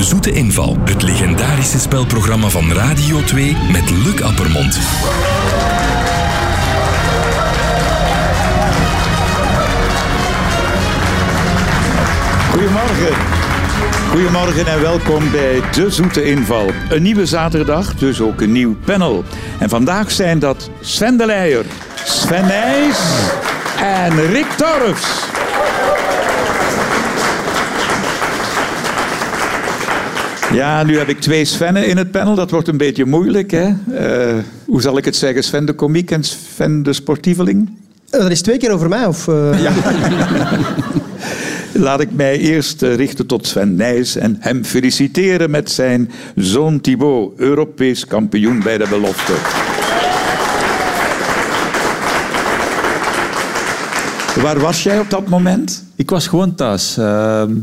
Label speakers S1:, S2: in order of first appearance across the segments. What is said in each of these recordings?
S1: Zoete Inval. Het legendarische spelprogramma van Radio 2 met Luc Appermond.
S2: Goedemorgen. Goedemorgen en welkom bij De Zoete Inval. Een nieuwe zaterdag, dus ook een nieuw panel. En vandaag zijn dat Sven de Leijer, Sven Nijs en Rick Torfs. Ja, nu heb ik twee Svennen in het panel. Dat wordt een beetje moeilijk, hè? Eh, hoe zal ik het zeggen? Sven de komiek en Sven de sportieveling?
S3: Eh, Dat is twee keer over mij, of... eh,
S2: Laat ik mij eerst eh, richten tot Sven Nijs en hem feliciteren met zijn zoon Thibaut, Europees kampioen bij de belofte. Waar was jij op dat moment?
S4: Ik was gewoon thuis. Ehm,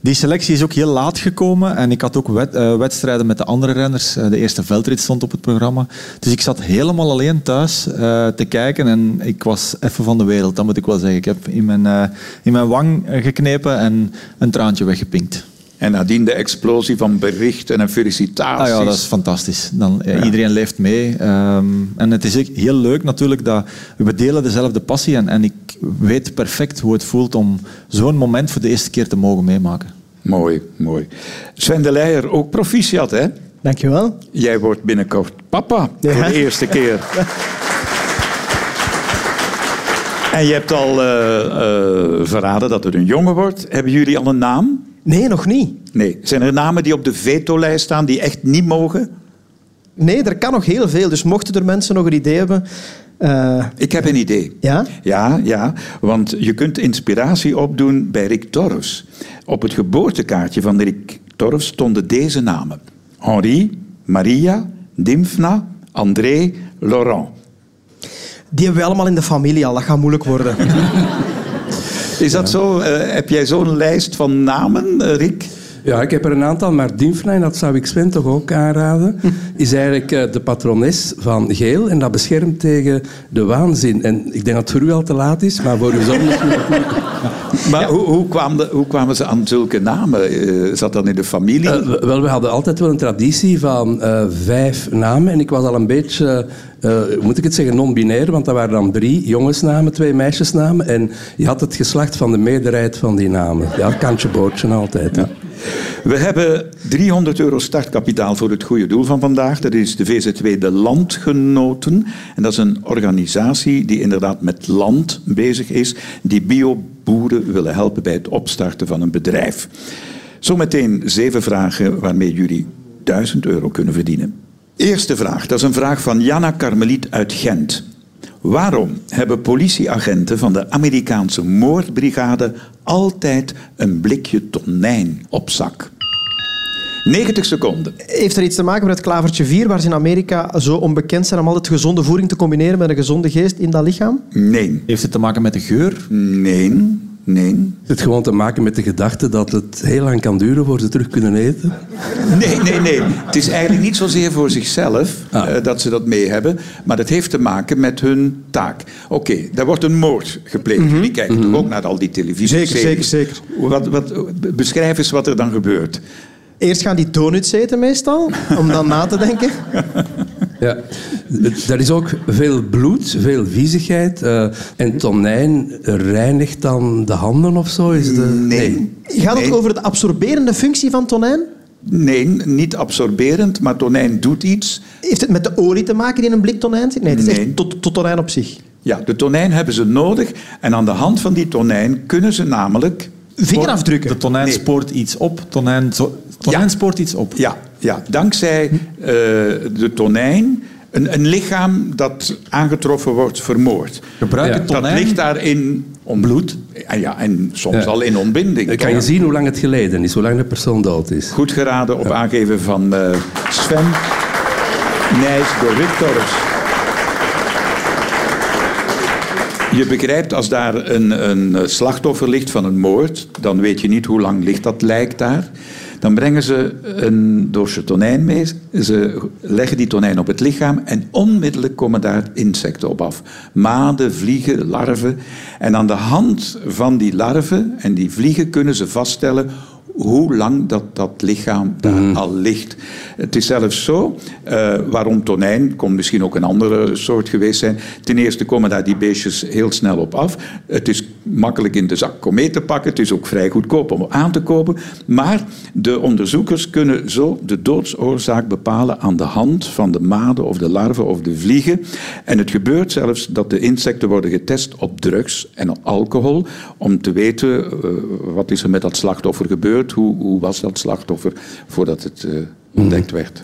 S4: die selectie is ook heel laat gekomen en ik had ook wed- eh, wedstrijden met de andere renners. Eh, de eerste veldrit stond op het programma. Dus ik zat helemaal alleen thuis eh, te kijken en ik was even van de wereld, dat moet ik wel zeggen. Ik heb in mijn, eh, in mijn wang eh, geknepen en een traantje weggepinkt.
S2: En nadien de explosie van berichten en felicitaties.
S4: Ah ja, dat is fantastisch. Dan, eh, Iedereen leeft mee. Ehm, en het is ook heel leuk natuurlijk dat we delen dezelfde passie en, en ik weet perfect hoe het voelt om zo'n moment voor de eerste keer te mogen meemaken.
S2: Mooi, mooi. Sven de Leijer, ook proficiat, hè?
S3: Dankjewel.
S2: Jij wordt binnenkort papa voor
S3: Ja.
S2: de eerste keer. En je hebt al eh, eh, verraden dat het een jongen wordt. Hebben jullie al een naam?
S3: Nee, nog niet.
S2: Nee. Zijn er namen die op de veto-lijst staan die echt niet mogen?
S3: Nee, er kan nog heel veel. Dus mochten er mensen nog een idee hebben... eh,
S2: Ik heb een idee.
S3: ja?
S2: Ja, ja, want je kunt inspiratie opdoen bij Rick Torfs. Op het geboortekaartje van Rick Torfs stonden deze namen. Henri, Maria, Dimfna, André, Laurent.
S3: Die hebben we allemaal in de familie al. Dat gaat moeilijk worden.
S2: Is dat zo? Eh, heb jij zo'n lijst van namen, eh, Rick?
S5: Ja, ik heb er een aantal, maar Dimfna, en dat zou ik Sven toch ook aanraden, is eigenlijk eh, de patrones van Geel. En dat beschermt tegen de waanzin. En ik denk dat het voor u al te laat is, maar voor uw zoon misschien nog niet.
S2: Maar hoe, hoe, kwam de- hoe kwamen ze aan zulke namen? Eh, zat dat in de familie?
S5: Eh, w- wel, we hadden altijd wel een traditie van eh, vijf namen. En ik was al een beetje, eh, eh, moet ik het zeggen, non-binair. Want dat waren dan drie jongensnamen, twee meisjesnamen. En je had het geslacht van de meerderheid van die namen. Ja, kantje bootje altijd. hè.
S2: We hebben 300 euro startkapitaal voor het goede doel van vandaag. Dat is de VZW De Landgenoten. En dat is een organisatie die inderdaad met land bezig is, die bioboeren willen helpen bij het opstarten van een bedrijf. Zometeen zeven vragen waarmee jullie 1000 euro kunnen verdienen. Eerste vraag, dat is een vraag van Jana Karmeliet uit Gent. Waarom hebben politieagenten van de Amerikaanse moordbrigade altijd een blikje tonijn op zak? 90 seconden.
S3: Heeft er iets te maken met het klavertje 4, waar ze in Amerika zo onbekend zijn om altijd gezonde voeding te combineren met een gezonde geest in dat lichaam?
S2: Nee,
S4: Heeft het te maken met de geur?
S2: nee, nee.
S5: Het gewoon te maken met de gedachte dat het heel lang kan duren voor ze terug kunnen eten.
S2: Nee, nee, nee. Het is eigenlijk niet zozeer voor zichzelf
S5: Ah.
S2: eh, dat ze dat mee hebben, maar dat heeft te maken met hun taak. Oké, daar wordt een moord gepleegd. Jullie kijken toch ook naar al die televisie.
S3: Mhm. Zeker, zeker,
S2: Wat, wat, beschrijf eens wat er dan gebeurt.
S3: Eerst gaan die donuts eten meestal, om dan na te denken.
S5: Ja, er is ook veel bloed, veel viezigheid. eh, en tonijn reinigt dan de handen of zo? Is de...
S3: Gaat het
S2: Nee.
S3: over de absorberende functie van tonijn?
S2: Nee, niet absorberend, maar tonijn doet iets.
S3: Heeft het met de olie te maken die in een blik tonijn zit? Nee, het is
S2: Nee.
S3: echt tot, tot tonijn op zich.
S2: Ja, de tonijn hebben ze nodig. En aan de hand van die tonijn kunnen ze namelijk...
S3: Vingerafdrukken.
S4: De tonijn
S2: Nee.
S4: spoort iets op. Tonijn, zo, tonijn
S2: Ja.
S4: spoort iets op.
S2: Ja, ja dankzij eh, de tonijn... Een, een lichaam dat aangetroffen wordt vermoord.
S4: Gebruik
S5: Ja.
S4: het
S2: Dat
S4: tonijn.
S2: ligt daarin... Om, bloed. En, ja, en soms
S5: Ja.
S2: al in ontbinding.
S5: Dan kan je zien hoe lang het geleden is, hoe lang de persoon dood is.
S2: Goed geraden op aangeven van eh, Sven Nijs de Richters. Je begrijpt, als daar een, een eh, slachtoffer ligt van een moord, dan weet je niet hoe lang ligt dat lijk daar. Dan brengen ze een doosje tonijn mee, ze leggen die tonijn op het lichaam en onmiddellijk komen daar insecten op af. Maden, vliegen, larven. En aan de hand van die larven en die vliegen kunnen ze vaststellen hoe lang dat, dat lichaam daar al ligt. Het is zelfs zo, eh, waarom tonijn, kon misschien ook een andere soort geweest zijn. Ten eerste komen daar die beestjes heel snel op af. Het is makkelijk in de zak komeet te pakken. Het is ook vrij goedkoop om aan te kopen. Maar de onderzoekers kunnen zo de doodsoorzaak bepalen aan de hand van de maden of de larven of de vliegen. En het gebeurt zelfs dat de insecten worden getest op drugs en op alcohol om te weten eh, wat is er met dat slachtoffer gebeurd, hoe, hoe was dat slachtoffer voordat het eh, ontdekt werd.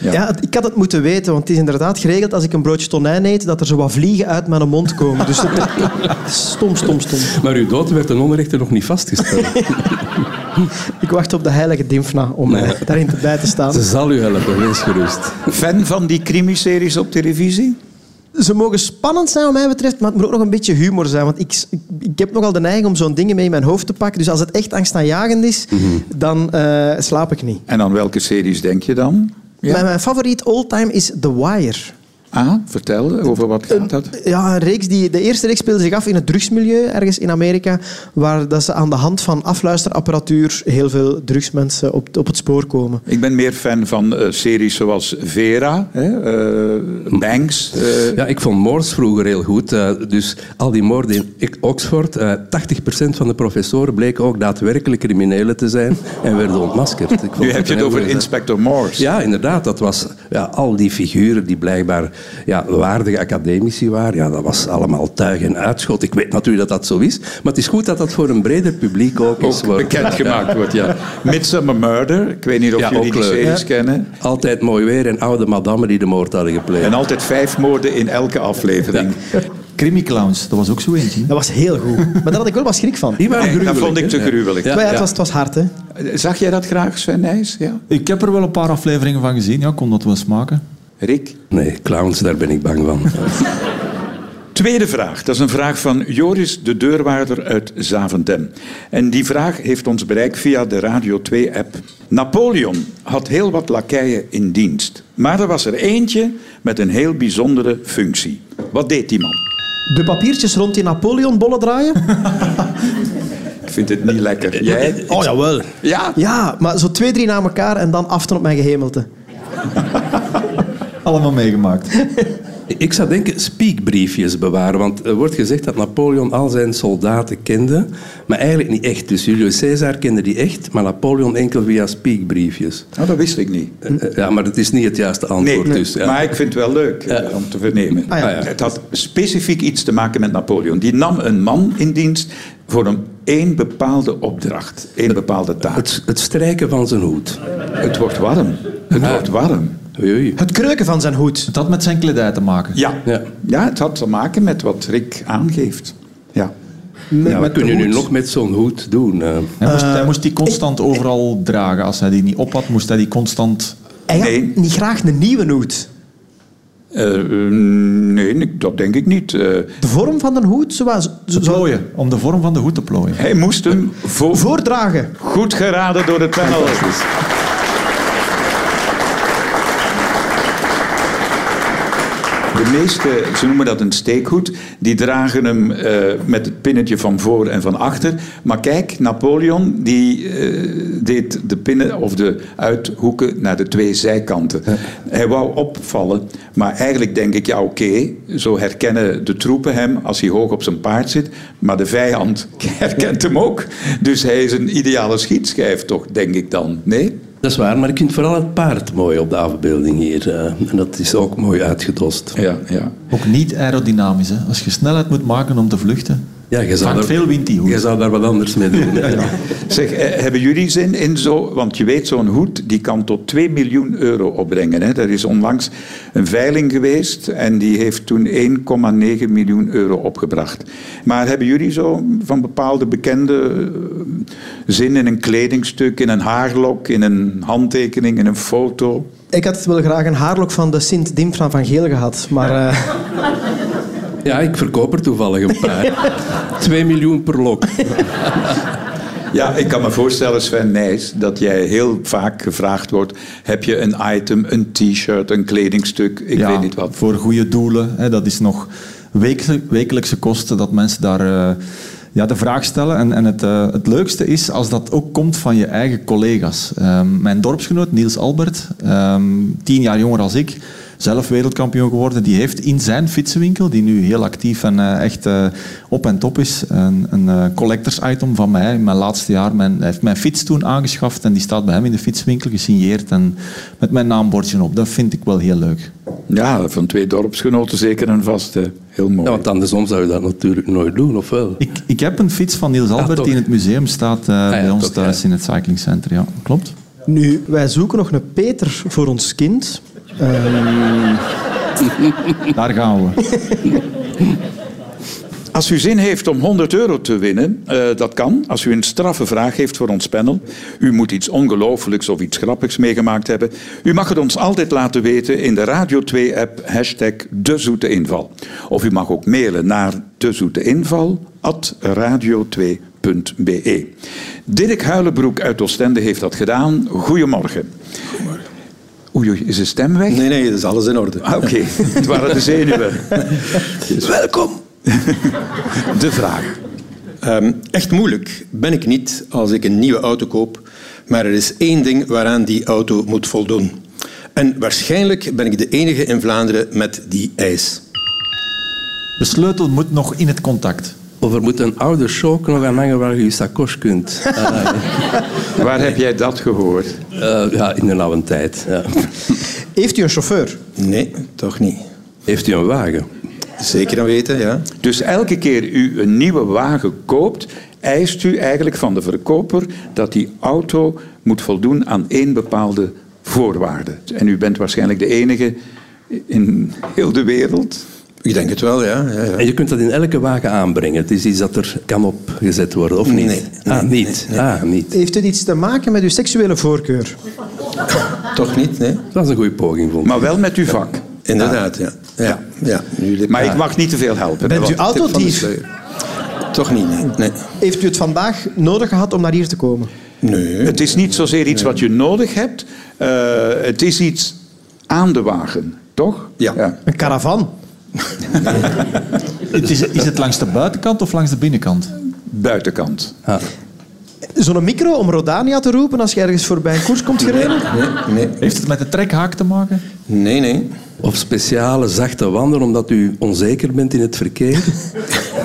S3: Ja. het- ik had het moeten weten, want het is inderdaad geregeld als ik een broodje tonijn eet, dat er zo wat vliegen uit mijn mond komen. Dus dat, stom, stom, stom.
S5: Maar uw dood werd ten onrechte nog niet vastgesteld.
S3: Ik wacht op de heilige Dimfna om eh, daarin bij te staan.
S5: Ze zal u helpen, wees gerust.
S2: Fan van die crimiseries op televisie?
S3: Ze mogen spannend zijn, wat mij betreft, maar het moet ook nog een beetje humor zijn. Want ik, ik, ik heb nogal de neiging om zo'n dingen mee in mijn hoofd te pakken. Dus als het echt angstaanjagend is, dan eh, slaap ik niet.
S2: En aan welke series denk je dan?
S3: Maar mijn favoriet all-time is The Wire.
S2: Ah, vertel, over wat gaat dat?
S3: Ja, een reeks die, de eerste reeks speelde zich af in het drugsmilieu, ergens in Amerika, waar dat ze aan de hand van afluisterapparatuur heel veel drugsmensen op, op het spoor komen.
S2: Ik ben meer fan van eh, series zoals Vera, hè, eh, Banks. eh,
S5: Ja, ik vond moords vroeger heel goed. Eh, dus al die moorden in Oxford, eh 80% van de professoren bleken ook daadwerkelijk criminelen te zijn en werden ontmaskerd. Ik vond
S2: nu
S5: dat
S2: heb je het
S5: een heel
S2: over
S5: goeie-
S2: Inspector Morse.
S5: Ja, inderdaad. Dat was ja, al die figuren die blijkbaar ja, waardige academici waren. Ja, dat was allemaal tuig en uitschot. Ik weet natuurlijk dat dat zo is. Maar het is goed dat dat voor een breder publiek ook, is.
S2: Ook
S5: wordt-
S2: bekendgemaakt
S5: Ja.
S2: wordt, ja. Midsummer Murder, ik weet niet of
S5: Ja,
S2: jullie
S5: ook
S2: die
S5: leuk.
S2: series
S5: Ja.
S2: kennen.
S5: Altijd mooi weer en oude madammen die de moord hadden gepleegd.
S2: En altijd vijf moorden in elke aflevering.
S4: Crimi Clowns, dat was ook zo eentje.
S3: Dat was heel goed. Maar daar had ik wel wat schrik van.
S5: Die waren
S2: Nee, dat
S5: gruwelijk,
S2: vond ik
S5: hè?
S2: te
S5: Ja.
S2: gruwelijk.
S5: Ja,
S3: maar ja,
S5: ja.
S3: het was, het was hard, hè?
S2: Zag jij dat graag, Sven Nijs? Ja.
S4: Ik heb er wel een paar afleveringen van gezien, ja, kon dat wel smaken.
S2: Rick?
S5: Nee, clowns, daar ben ik bang van.
S2: Tweede vraag, dat is een vraag van Joris de Deurwaarder uit Zaventem. En die vraag heeft ons bereikt via de Radio 2-app. Napoleon had heel wat lakeien in dienst, maar er was er eentje met een heel bijzondere functie. Wat deed die man?
S3: De papiertjes rond die Napoleonbollen draaien?
S2: Ik vind het niet lekker. Jij?
S3: Oh, jawel.
S2: Ja,
S3: Ja, maar zo twee, drie na elkaar en dan aften op mijn gehemelte.
S4: Allemaal meegemaakt.
S5: Ik zou denken speakbriefjes bewaren, want er wordt gezegd dat Napoleon al zijn soldaten kende, maar eigenlijk niet echt. Dus Julius Caesar kende die echt, maar Napoleon enkel via speakbriefjes.
S2: Nou, dat wist ik niet.
S5: Eh, eh, Ja, maar dat is niet het juiste
S2: Nee,
S5: antwoord. dus, ja.
S2: maar ik vind het wel leuk eh, om te vernemen.
S3: Ah, ja.
S5: Ah, ja.
S2: Het had specifiek iets te maken met Napoleon. Die nam een man in dienst voor een één bepaalde opdracht, één bepaalde taak.
S5: het, het strijken van zijn hoed.
S2: Het wordt warm. Het wordt warm.
S5: Oei, oei.
S3: Het kreuken van zijn hoed.
S4: Het had met zijn kledij te maken.
S2: Ja.
S5: Ja.
S2: ja. het had te maken met wat Rick aangeeft. Ja.
S5: Ja, wat kun je nu nog met zo'n hoed doen? eh?
S4: Hij moest, hij moest die constant overal dragen. Als hij die niet op had, moest hij die constant...
S3: Hij had
S2: Nee.
S3: niet graag een nieuwe hoed.
S2: Eh, eh, nee, nee, dat denk ik niet. Eh,
S3: De vorm van een hoed, zoals... Zo,
S4: Te
S3: zo-
S4: plooien, om de vorm van de hoed te plooien.
S2: hij moest hem voor...
S3: voordragen.
S2: Goed geraden door het panel. De meeste, ze noemen dat een steekhoed, die dragen hem eh, met het pinnetje van voor en van achter. Maar kijk, Napoleon die, eh, deed de pinnen of de uithoeken naar de twee zijkanten. Hij wou opvallen, maar eigenlijk denk ik, ja oké, zo herkennen de troepen hem als hij hoog op zijn paard zit. Maar de vijand herkent hem ook. Dus hij is een ideale schietschijf toch, denk ik dan. Nee?
S5: Dat is waar, maar ik vind vooral het paard mooi op de afbeelding hier. eh. En dat is ook mooi uitgedost.
S2: Ja, ja.
S4: Ook niet aerodynamisch. Hè. Als je snelheid moet maken om te vluchten,
S5: Ja, je zou,
S4: vangt
S5: daar,
S4: veel wind die
S5: je
S4: hoed.
S5: zou daar wat anders mee doen. hè.
S2: Zeg, eh, hebben jullie zin in zo... Want je weet, zo'n hoed die kan tot 2 miljoen euro opbrengen. Hè? Er is onlangs een veiling geweest en die heeft toen 1,9 miljoen euro opgebracht. Maar hebben jullie zo van bepaalde bekende eh, zin in een kledingstuk, in een haarlok, in een handtekening, in een foto?
S3: Ik had wel graag een haarlok van de Sint Dimfra van Geel gehad, maar eh,
S5: Ja, ik verkoop er toevallig een paar. Twee miljoen per lok.
S2: Ja, ik kan me voorstellen, Sven Nijs, dat jij heel vaak gevraagd wordt... heb je een item, een t-shirt, een kledingstuk, ik
S4: Ja,
S2: weet niet wat.
S4: Voor goede doelen. Hè, dat is nog wekelijk- wekelijkse kosten dat mensen daar eh, ja, de vraag stellen. En, en het, eh, het leukste is als dat ook komt van je eigen collega's. Ehm, mijn dorpsgenoot Niels Albert, ehm, tien jaar jonger als ik, zelf wereldkampioen geworden, die heeft in zijn fietsenwinkel, die nu heel actief en eh, echt eh, op en top is, een, een eh, collectors item van mij. In mijn laatste jaar mijn, hij heeft mijn fiets toen aangeschaft en die staat bij hem in de fietswinkel gesigneerd en met mijn naambordje op. Dat vind ik wel heel leuk.
S6: Ja, van twee dorpsgenoten zeker en vast. hè. Heel mooi.
S5: Ja, want andersom zou je dat natuurlijk nooit doen, of wel?
S4: Ik, ik heb een fiets van Niels Albert
S5: Ah, toch.
S4: die in het museum staat eh, bij ons
S5: toch,
S4: thuis
S5: ja.
S4: in het cyclingcenter. Ja, klopt.
S3: Nu, wij zoeken nog een Peter voor ons kind. Ehm,
S4: Daar gaan we.
S2: Als u zin heeft om 100 euro te winnen, eh, dat kan. Als u een straffe vraag heeft voor ons panel, u moet iets ongelooflijks of iets grappigs meegemaakt hebben, u mag het ons altijd laten weten in de Radio 2-app, hashtag De Zoete Inval. Of u mag ook mailen naar dezoeteinval.radio2.be. Dirk Huilenbroek uit Oostende heeft dat gedaan. Goedemorgen. Oei, oei, is de stem weg?
S7: Nee, nee, dat is alles in orde.
S2: Ah, Oké, het waren de zenuwen. Welkom. De vraag.
S7: Ehm, echt moeilijk ben ik niet als ik een nieuwe auto koop, maar er is één ding waaraan die auto moet voldoen. En waarschijnlijk ben ik de enige in Vlaanderen met die eis.
S4: De sleutel moet nog in het contact.
S5: Of er moet een oude shock nog aan hangen waar je je sakos kunt. Ah,
S2: Waar heb jij dat gehoord?
S5: eh, ja, in de oude tijd. Ja.
S3: Heeft u een chauffeur?
S7: Nee, toch niet.
S5: Heeft u een wagen?
S7: Zeker aan weten, ja.
S2: Dus elke keer u een nieuwe wagen koopt, eist u eigenlijk van de verkoper dat die auto moet voldoen aan één bepaalde voorwaarde. En u bent waarschijnlijk de enige in heel de wereld.
S7: Ik denk het wel, ja. ja, ja.
S5: En je kunt dat in elke wagen aanbrengen. Het is iets dat er kan opgezet worden, of niet?
S7: Nee, nee,
S5: ah,
S7: nee,
S5: niet. Ah, niet.
S3: Heeft dit iets te maken met uw seksuele voorkeur?
S7: Toch niet, nee.
S5: Dat was een goede poging, vond ik.
S2: Maar wel met uw vak.
S7: Inderdaad, ja. Ja, ja. Nu
S2: Maar ik mag niet te veel helpen.
S3: Bent u
S2: want-
S3: autodief?
S7: Toch niet, nee. nee.
S3: Heeft u het vandaag nodig gehad om naar hier te komen?
S7: Nee.
S2: Het is niet zozeer iets wat je nodig hebt. eh, het is iets aan de wagen, toch?
S7: Ja.
S3: Een caravan?
S4: Het is, is het langs de buitenkant of langs de binnenkant?
S2: Buitenkant.
S5: Ah.
S3: Zo'n micro om Rodania te roepen als je ergens voorbij een koers komt gereden?
S7: Nee, nee.
S4: Heeft het met de trekhaak te maken?
S7: Nee, nee.
S5: Of speciale zachte wanden, omdat u onzeker bent in het verkeer.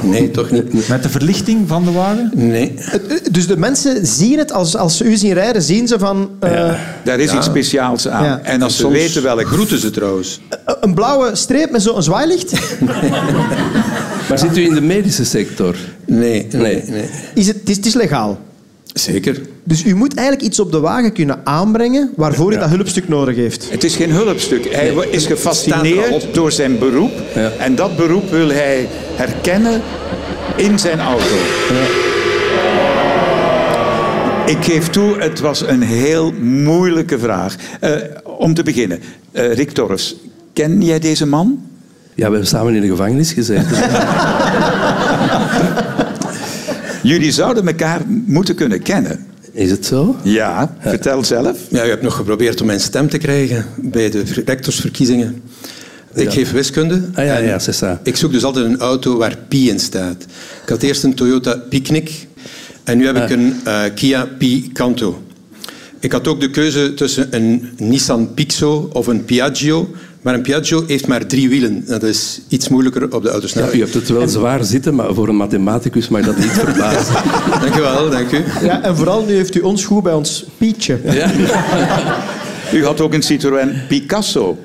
S7: Nee, toch niet.
S4: Met de verlichting van de wagen?
S7: Nee.
S3: Het- Dus de mensen zien het, als, als ze u zien rijden, zien ze van... eh,
S2: Daar is iets speciaals aan.
S3: Ja.
S2: En als ze
S7: Soms
S2: weten welk...
S7: groeten ze trouwens.
S3: eh, Een blauwe streep met zo'n zwaailicht?
S5: Maar zit u in de medische sector?
S7: Nee,
S5: Nee.
S7: nee, nee.
S3: Is het, het, is, het is legaal.
S7: Zeker.
S3: Dus u moet eigenlijk iets op de wagen kunnen aanbrengen waarvoor u dat hulpstuk nodig heeft.
S2: Het is geen hulpstuk. Hij is
S7: staat
S2: gefascineerd
S7: erop.
S2: door zijn beroep.
S5: Ja.
S2: En dat beroep wil hij herkennen in zijn auto. Ik geef toe, het was een heel moeilijke vraag. Eh, om te beginnen, eh, Rick Torres, ken jij deze man?
S5: Ja, we hebben samen in de gevangenis gezeten.
S2: Jullie zouden elkaar moeten kunnen kennen.
S5: Is het zo?
S2: Ja, vertel zelf.
S7: Ja, u hebt nog geprobeerd om mijn stem te krijgen bij de rectorsverkiezingen. Ik geef wiskunde.
S5: Ah ja,
S7: en
S5: ja, c'est ça.
S7: Ik zoek dus altijd een auto waar Pi in staat. Ik had eerst een Toyota Picnic en nu heb
S5: Ah.
S7: ik een eh, Kia Picanto. Ik had ook de keuze tussen een Nissan Pixo of een Piaggio. Maar een Piaggio heeft maar drie wielen. Dat is iets moeilijker op de
S5: Ja,
S7: autosnelweg.
S5: u hebt het wel zwaar zitten, maar voor een mathematicus mag dat niet verbazen.
S7: Dank u wel, dank u.
S3: Ja, en vooral nu heeft u ons goed bij ons Pietje.
S2: U had ook een Citroën Picasso.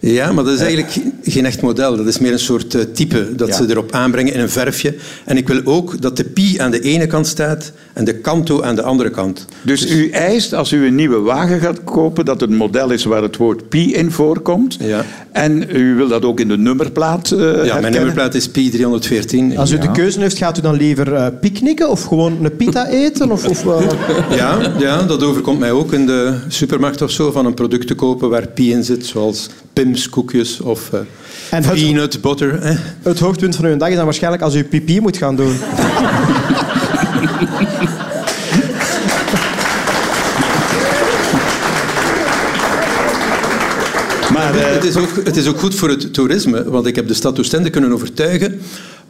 S7: Ja, maar dat is
S3: Eh,
S7: eigenlijk geen echt model. Dat is meer een soort eh, type dat
S2: Ja.
S7: ze erop aanbrengen in een verfje. En ik wil ook dat de pi aan de ene kant staat en de kanto aan de andere
S3: Eh,
S7: kant.
S2: Dus u eist als u een nieuwe wagen gaat kopen dat het model is waar het woord pi in voorkomt.
S7: Ja.
S2: En u wil dat ook in de nummerplaat eh
S7: Ja, mijn nummerplaat is pi 314.
S3: Als u de keuze heeft, gaat u dan liever eh picknicken of gewoon een pita eten? Of, of, eh,
S7: Ja, ja, dat overkomt mij ook in de supermarkt of zo van een product te kopen waar pi in zit, zoals Pim's koekjes of eh,
S3: En het-
S7: peanut butter. hè.
S3: het hoogtepunt van uw dag is dan waarschijnlijk als u pipi moet gaan doen.
S2: Maar eh, eh,
S7: Het is, ook, het is ook goed voor het toerisme, want ik heb de stad Oostende kunnen overtuigen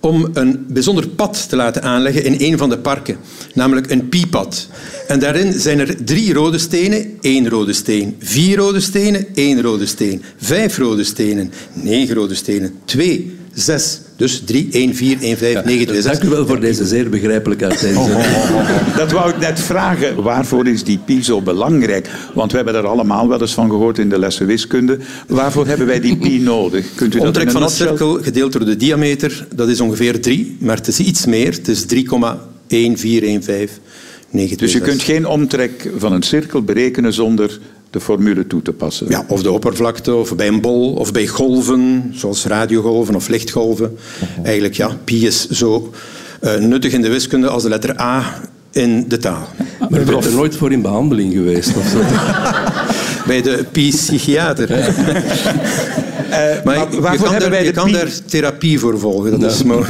S7: om een bijzonder pad te laten aanleggen in een van de parken, namelijk een piepad. En daarin zijn er drie rode stenen, één rode steen, vier rode stenen, één rode steen, vijf rode stenen, negen rode stenen, twee, zes. Dus 3, 1, 4, 1, 5, 9, 2, 6.
S5: Dank u wel voor deze zeer begrijpelijke uiteenzetting.
S7: Oh,
S2: Dat wou ik net vragen. Waarvoor is die pi zo belangrijk? Want we hebben er allemaal wel eens van gehoord in de lessen wiskunde. Waarvoor hebben wij die pi nodig? Kunt u dat
S7: Omtrek
S2: in een
S7: van een
S2: nutshell-
S7: cirkel gedeeld door de diameter, dat is ongeveer 3, maar het is iets meer. Het is 3,14159.
S2: Dus je kunt geen omtrek van een cirkel berekenen zonder de formule toe te passen.
S7: eh, ja, of de oppervlakte, of bij een bol, of bij golven, zoals radiogolven of lichtgolven. Eigenlijk, ja, pi is zo eh, nuttig in de wiskunde als de letter A in de taal.
S5: Maar u bent er nooit voor in behandeling geweest of zo.
S7: Bij de pi-psychiater. maar je-
S2: waarvoor
S7: je, kan,
S2: hebben
S7: daar,
S2: wij
S7: je
S2: de
S7: kan
S2: pi-
S7: daar therapie voor volgen. Dat is maar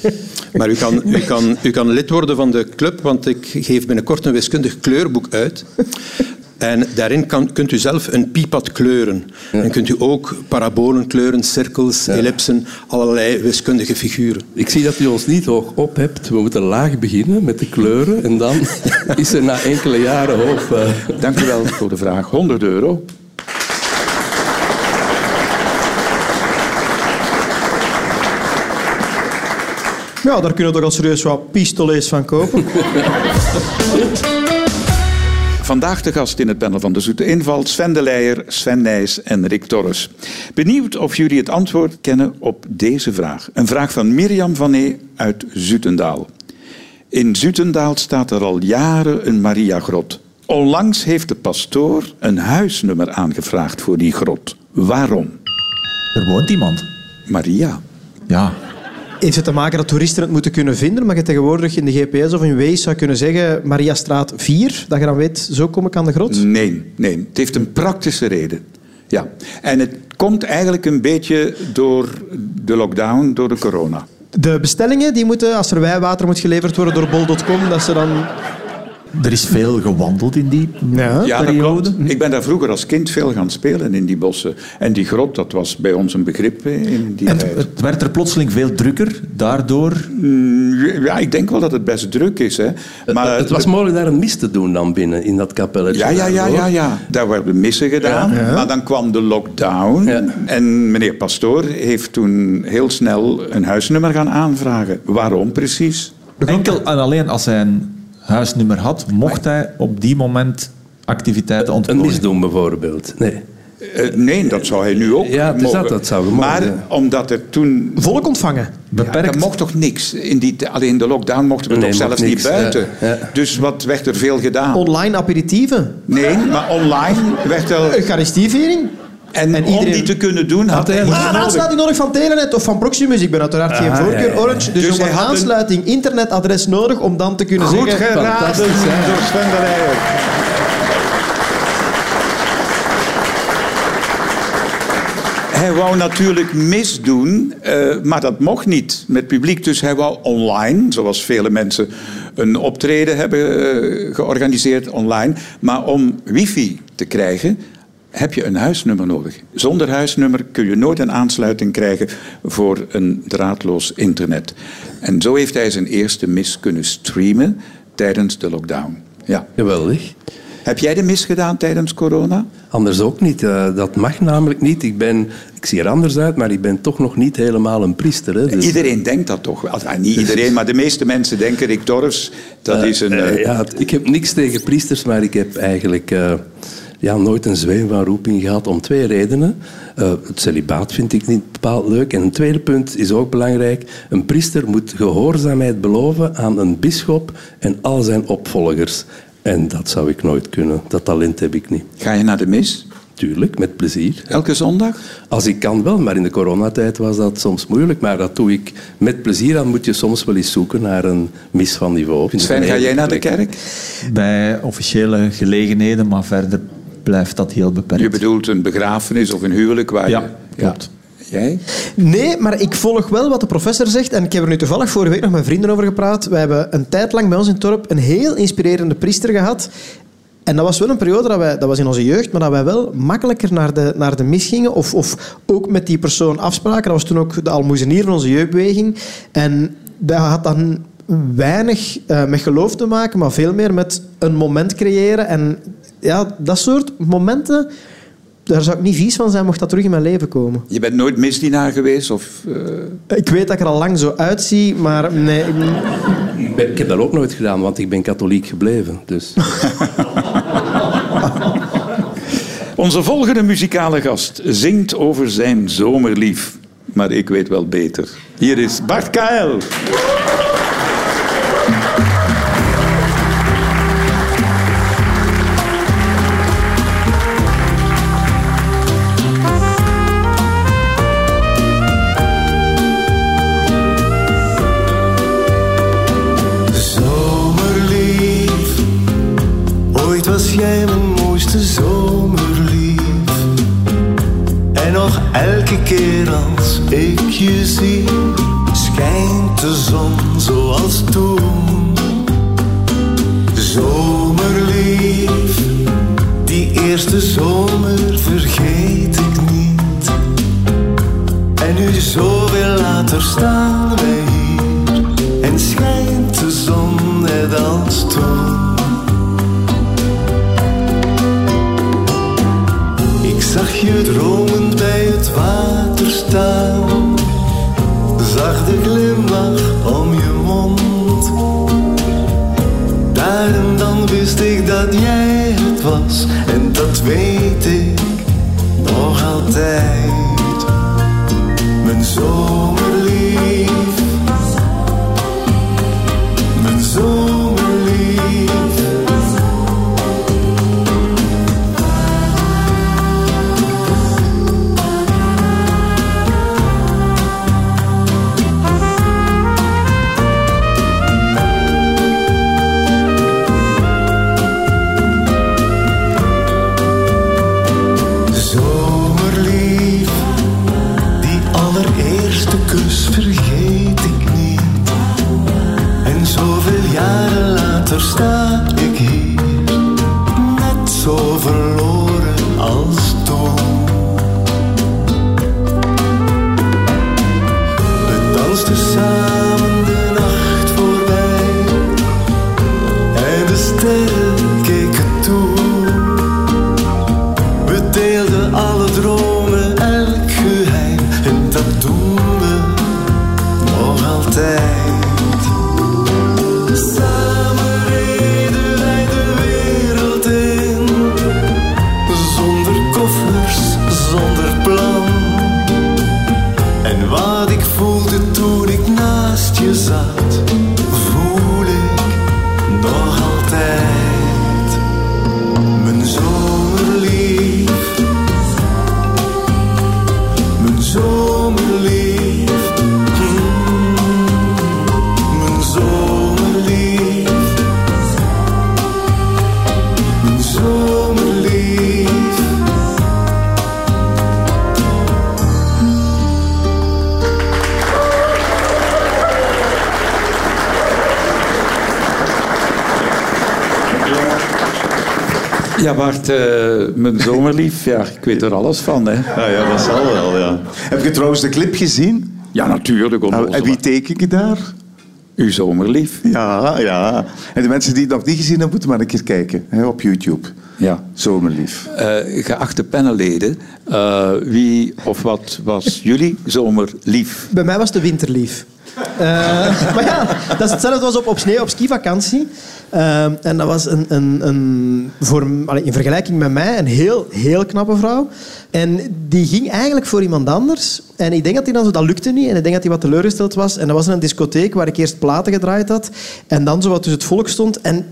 S7: maar u, kan, u, kan, u kan lid worden van de club, want ik geef binnenkort een wiskundig kleurboek uit. En daarin kan, kunt u zelf een piepad kleuren. En kunt u ook parabolen kleuren, cirkels, ellipsen, allerlei wiskundige figuren.
S5: Ik zie dat u ons niet hoog op hebt. We moeten laag beginnen met de kleuren en dan is er na enkele jaren hoop. eh.
S2: Dank u wel voor de vraag. 100 euro.
S3: Ja, daar kunnen we toch al serieus wat pistolets van kopen.
S2: Vandaag de gast in het panel van de Zoete Inval, Sven de Leijer, Sven Nijs en Rick Torres. Benieuwd of jullie het antwoord kennen op deze vraag. Een vraag van Mirjam van E. uit Zutendaal. In Zutendaal staat er al jaren een Mariagrot. Onlangs heeft de pastoor een huisnummer aangevraagd voor die grot. Waarom?
S4: Er woont iemand.
S2: Maria.
S4: Ja.
S3: Heeft het te maken dat toeristen het moeten kunnen vinden, maar je tegenwoordig in de GPS of in Waze zou kunnen zeggen Mariastraat 4, dat je dan weet, zo kom ik aan de grot.
S2: Nee, nee. Het heeft een praktische reden. Ja. En het komt eigenlijk een beetje door de lockdown, door de corona.
S3: De bestellingen die moeten, als er wijwater moet geleverd worden door bol.com, dat ze dan...
S4: Er is veel gewandeld in die
S2: Ja, dat
S4: periode.
S2: klopt. Ik ben daar vroeger als kind veel gaan spelen in die bossen. En die grot, dat was bij ons een begrip hè, in die
S4: En het,
S2: tijd.
S4: het werd er plotseling veel drukker, daardoor...
S2: Mm, Ja, ik denk wel dat het best druk is. Hè. Maar eh,
S5: het was mogelijk daar een mis te doen dan binnen in dat kapelletje.
S2: Ja, ja, ja,
S5: daar, hoor.
S2: ja, ja. Daar werden missen gedaan. Maar dan kwam de lockdown.
S5: Ja.
S2: En meneer Pastoor heeft toen heel snel een huisnummer gaan aanvragen. Waarom precies?
S4: Enkel en alleen als hij een huisnummer had, mocht hij op die moment activiteiten
S5: Een
S4: ontplooien.
S5: misdoen bijvoorbeeld. Nee.
S2: Eh, nee, dat zou hij nu ook
S5: Ja, het is
S2: mogen.
S5: dat, dat zou mogen,
S2: Maar
S5: ja.
S2: omdat er toen...
S3: Volk ontvangen.
S2: Ja,
S4: Beperkt.
S2: er mocht toch niks? In die, alleen in de lockdown mochten we
S5: Nee,
S2: toch
S5: mocht
S2: zelfs
S5: niks,
S2: niet buiten?
S5: ja, ja.
S2: Dus wat werd er veel gedaan?
S3: Online aperitieven.
S2: Nee, maar online werd wel...
S3: Eucharistievering.
S2: En,
S3: En
S2: om
S3: iedereen-
S2: die te kunnen doen, had hij iets
S3: Ah, een
S2: nodig.
S3: aansluiting nodig van Telenet of van Proximus. Ik ben uiteraard geen voorkeur,
S5: ja, ja.
S3: Orange. Dus,
S2: Dus
S3: om
S2: hij
S3: een
S2: had een-
S3: aansluiting internetadres nodig om dan te kunnen
S2: Goed
S3: zeggen...
S2: geraden
S5: Fantastisch, hè?
S2: door Sven de Leijer. Hij wou natuurlijk misdoen, eh, maar dat mocht niet met publiek. Dus hij wou online, zoals vele mensen een optreden hebben eh, georganiseerd online. Maar om wifi te krijgen heb je een huisnummer nodig. Zonder huisnummer kun je nooit een aansluiting krijgen voor een draadloos internet. En zo heeft hij zijn eerste mis kunnen streamen tijdens de lockdown. Ja.
S5: Geweldig.
S2: Heb jij de mis gedaan tijdens corona?
S5: Anders ook niet. Eh, dat mag namelijk niet. Ik, ben, ik zie er anders uit, maar ik ben toch nog niet helemaal een priester. Hè, dus-
S2: Iedereen denkt dat toch wel. Ah, niet iedereen, maar de meeste mensen denken Rick Dorfs, dat is een...
S5: Eh,
S2: eh,
S5: ja, het- ik heb niks tegen priesters, maar ik heb eigenlijk eh, ja, nooit een zweem van roeping gehad om twee redenen. Eh, het celibaat vind ik niet bepaald leuk. En een tweede punt is ook belangrijk. Een priester moet gehoorzaamheid beloven aan een bisschop en al zijn opvolgers. En dat zou ik nooit kunnen. Dat talent heb ik niet.
S2: Ga je naar de mis?
S5: Tuurlijk, met plezier.
S2: Elke zondag?
S5: Als ik kan wel, maar in de coronatijd was dat soms moeilijk. Maar dat doe ik met plezier. Dan moet je soms wel eens zoeken naar een mis van niveau. Ik vind het
S2: Sven,
S5: een
S2: ga jij
S5: heerlijke
S2: naar de
S5: plek.
S2: kerk?
S4: Bij officiële gelegenheden, maar verder blijft dat heel beperkt.
S2: Je bedoelt een begrafenis of een huwelijk waar je...
S4: Ja, klopt.
S2: Jij?
S3: Nee, maar ik volg wel wat de professor zegt. En ik heb er nu toevallig vorige week nog met vrienden over gepraat. We hebben een tijd lang bij ons in Torp een heel inspirerende priester gehad. En dat was wel een periode, dat, wij, dat was in onze jeugd, maar dat wij wel makkelijker naar de, naar de mis gingen. Of, of ook met die persoon afspraken. Dat was toen ook de almoezenier van onze jeugdbeweging. En dat had dan weinig eh, met geloof te maken, maar veel meer met een moment creëren. En ja, dat soort momenten, daar zou ik niet vies van zijn mocht dat terug in mijn leven komen.
S2: Je bent nooit misdienaar geweest? Of, eh,
S3: Ik weet dat ik er al lang zo uitzie, maar nee. ik-
S5: Ik, ben- ik heb dat ook nooit gedaan, want ik ben katholiek gebleven. Dus.
S2: Onze volgende muzikale gast zingt over zijn zomerlief. Maar ik weet wel beter. Hier is Bart Kael.
S8: Zomerlief, ooit was jij mijn mooiste zomerlief. En nog elke keer als ik je zie, schijnt de zon zoals toen. Zomerlief, die eerste zomer vergeet ik niet. En nu zoveel later staan wij hier En schijnt de zon net als toen Ik zag je dromend bij het water staan Zag de glimlach om je mond Daar en dan wist ik dat jij het was En dat weet ik nog altijd mijn zomerlief. Mijn zomerlief. Zomerlief, die allereerste kus vergeet ik niet. En zoveel jaren later sta ik hier, net zo verloren als toen. We dansten samen de nacht voorbij en de sterren keken toe. We deelden alle dromen, elk geheim. En dat doen we nog altijd. Samen reden wij de wereld in. Zonder koffers, zonder plan. En wat ik voelde toen ik naast je zat, voel ik nog altijd. Mijn zomerlief, mijn zomerlief, Mm. mijn zomerlief, mijn zomerlief.
S2: Ja, Bart, eh, mijn zomerlief. Ja, ik weet er alles van. Hè.
S9: Ja, ja, dat zal wel, ja. Heb je trouwens de clip gezien?
S2: Ja, natuurlijk.
S9: Nou,
S2: onnozel.
S9: en wie teken je daar?
S2: Uw zomerlief.
S9: Ja, ja. En de mensen die het nog niet gezien hebben, moeten maar een keer kijken hè, op YouTube.
S2: Ja.
S9: Zomerlief.
S2: Eh, geachte panelleden, eh, wie of wat was jullie zomerlief?
S3: Bij mij was de winter lief. Eh, maar ja, dat is hetzelfde als op, op sneeuw, op skivakantie. Eh, en dat was een, een, een voor, allee, in vergelijking met mij een heel, heel knappe vrouw. En die ging eigenlijk voor iemand anders. En ik denk dat hij dan zo, dat lukte niet. En ik denk dat hij wat teleurgesteld was. En dat was in een discotheek waar ik eerst platen gedraaid had. En dan zo wat tussen het volk stond. En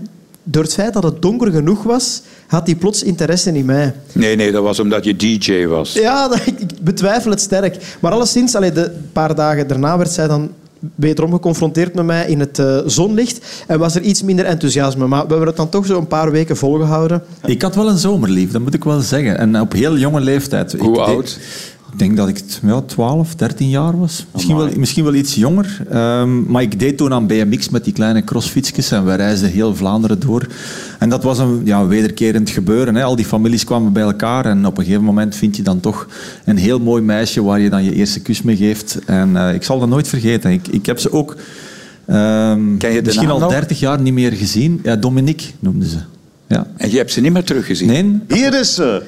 S3: door het feit dat het donker genoeg was, had hij plots interesse in mij.
S2: Nee, nee, dat was omdat je DJ was.
S3: Ja, dat- ik ik betwijfel het sterk. Maar alleszins, allee, de paar dagen daarna werd zij dan wederom geconfronteerd met mij in het eh, zonlicht. En was er iets minder enthousiasme. Maar we hebben het dan toch zo een paar weken volgehouden.
S4: Ik had wel een zomerlief, dat moet ik wel zeggen. En op heel jonge leeftijd.
S2: Hoe
S4: ik deed-
S2: oud?
S4: ik denk dat ik t- ja, 12, 13 jaar was. Misschien wel, misschien wel iets jonger. Ehm, maar ik deed toen aan BMX met die kleine crossfietsjes en we reisden heel Vlaanderen door. En dat was een ja, wederkerend gebeuren. Hè. Al die families kwamen bij elkaar en op een gegeven moment vind je dan toch een heel mooi meisje waar je dan je eerste kus mee geeft. En eh, ik zal dat nooit vergeten. Ik, ik heb ze ook ehm,
S2: Ken je de
S4: misschien
S2: naam
S4: al
S2: nog?
S4: 30 jaar niet meer gezien. Ja, Dominique noemde ze. Ja.
S2: En je hebt ze niet meer teruggezien.
S4: Nee,
S8: Hier is ze.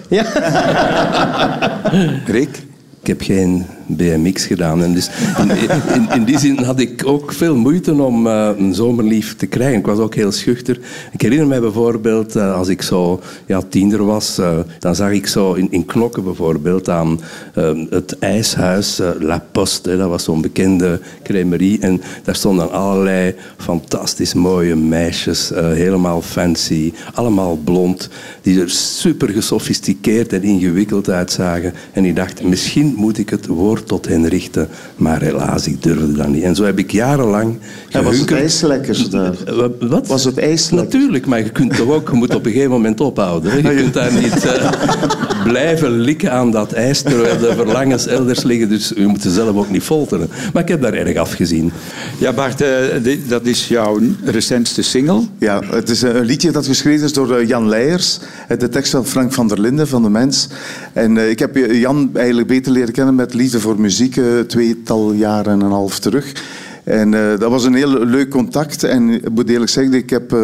S2: Rick?
S5: Ik heb geen BMX gedaan. En dus in, in, in die zin had ik ook veel moeite om eh, een zomerlief te krijgen. Ik was ook heel schuchter. Ik herinner mij bijvoorbeeld, eh, als ik zo ja, tiener was, eh, dan zag ik zo in, in Knokken bijvoorbeeld aan eh, het ijshuis eh, La Poste. hè. dat was zo'n bekende cremerie. En daar stonden allerlei fantastisch mooie meisjes, eh, helemaal fancy, allemaal blond, die er super gesofisticeerd en ingewikkeld uitzagen. En ik dacht, misschien moet ik het woord tot hen richten, maar helaas, ik durfde dat niet. En zo heb ik jarenlang
S8: Hij was het
S5: gehunkerd.
S8: ijslekkers daar.
S5: Eh, wa- Wat?
S8: Was het ijs lekker?
S5: Natuurlijk, maar je kunt toch ook, je moet op een gegeven moment ophouden. Hè. Je kunt daar niet eh, blijven likken aan dat ijs terwijl de verlangens elders liggen. Dus je moet ze zelf ook niet folteren. Maar ik heb daar erg afgezien.
S2: Ja, Bart, eh, dit- dat is jouw recentste single.
S8: Ja, het is eh, een liedje dat geschreven is door eh, Jan Leijers. Eh, De tekst van Frank van der Linden van De Mens. En eh, ik heb eh, Jan eigenlijk beter leren kennen met Liefde voor Muziek, eh, tweetal jaren en een half terug. En eh, dat was een heel leuk contact. En ik moet eerlijk zeggen, ik heb eh,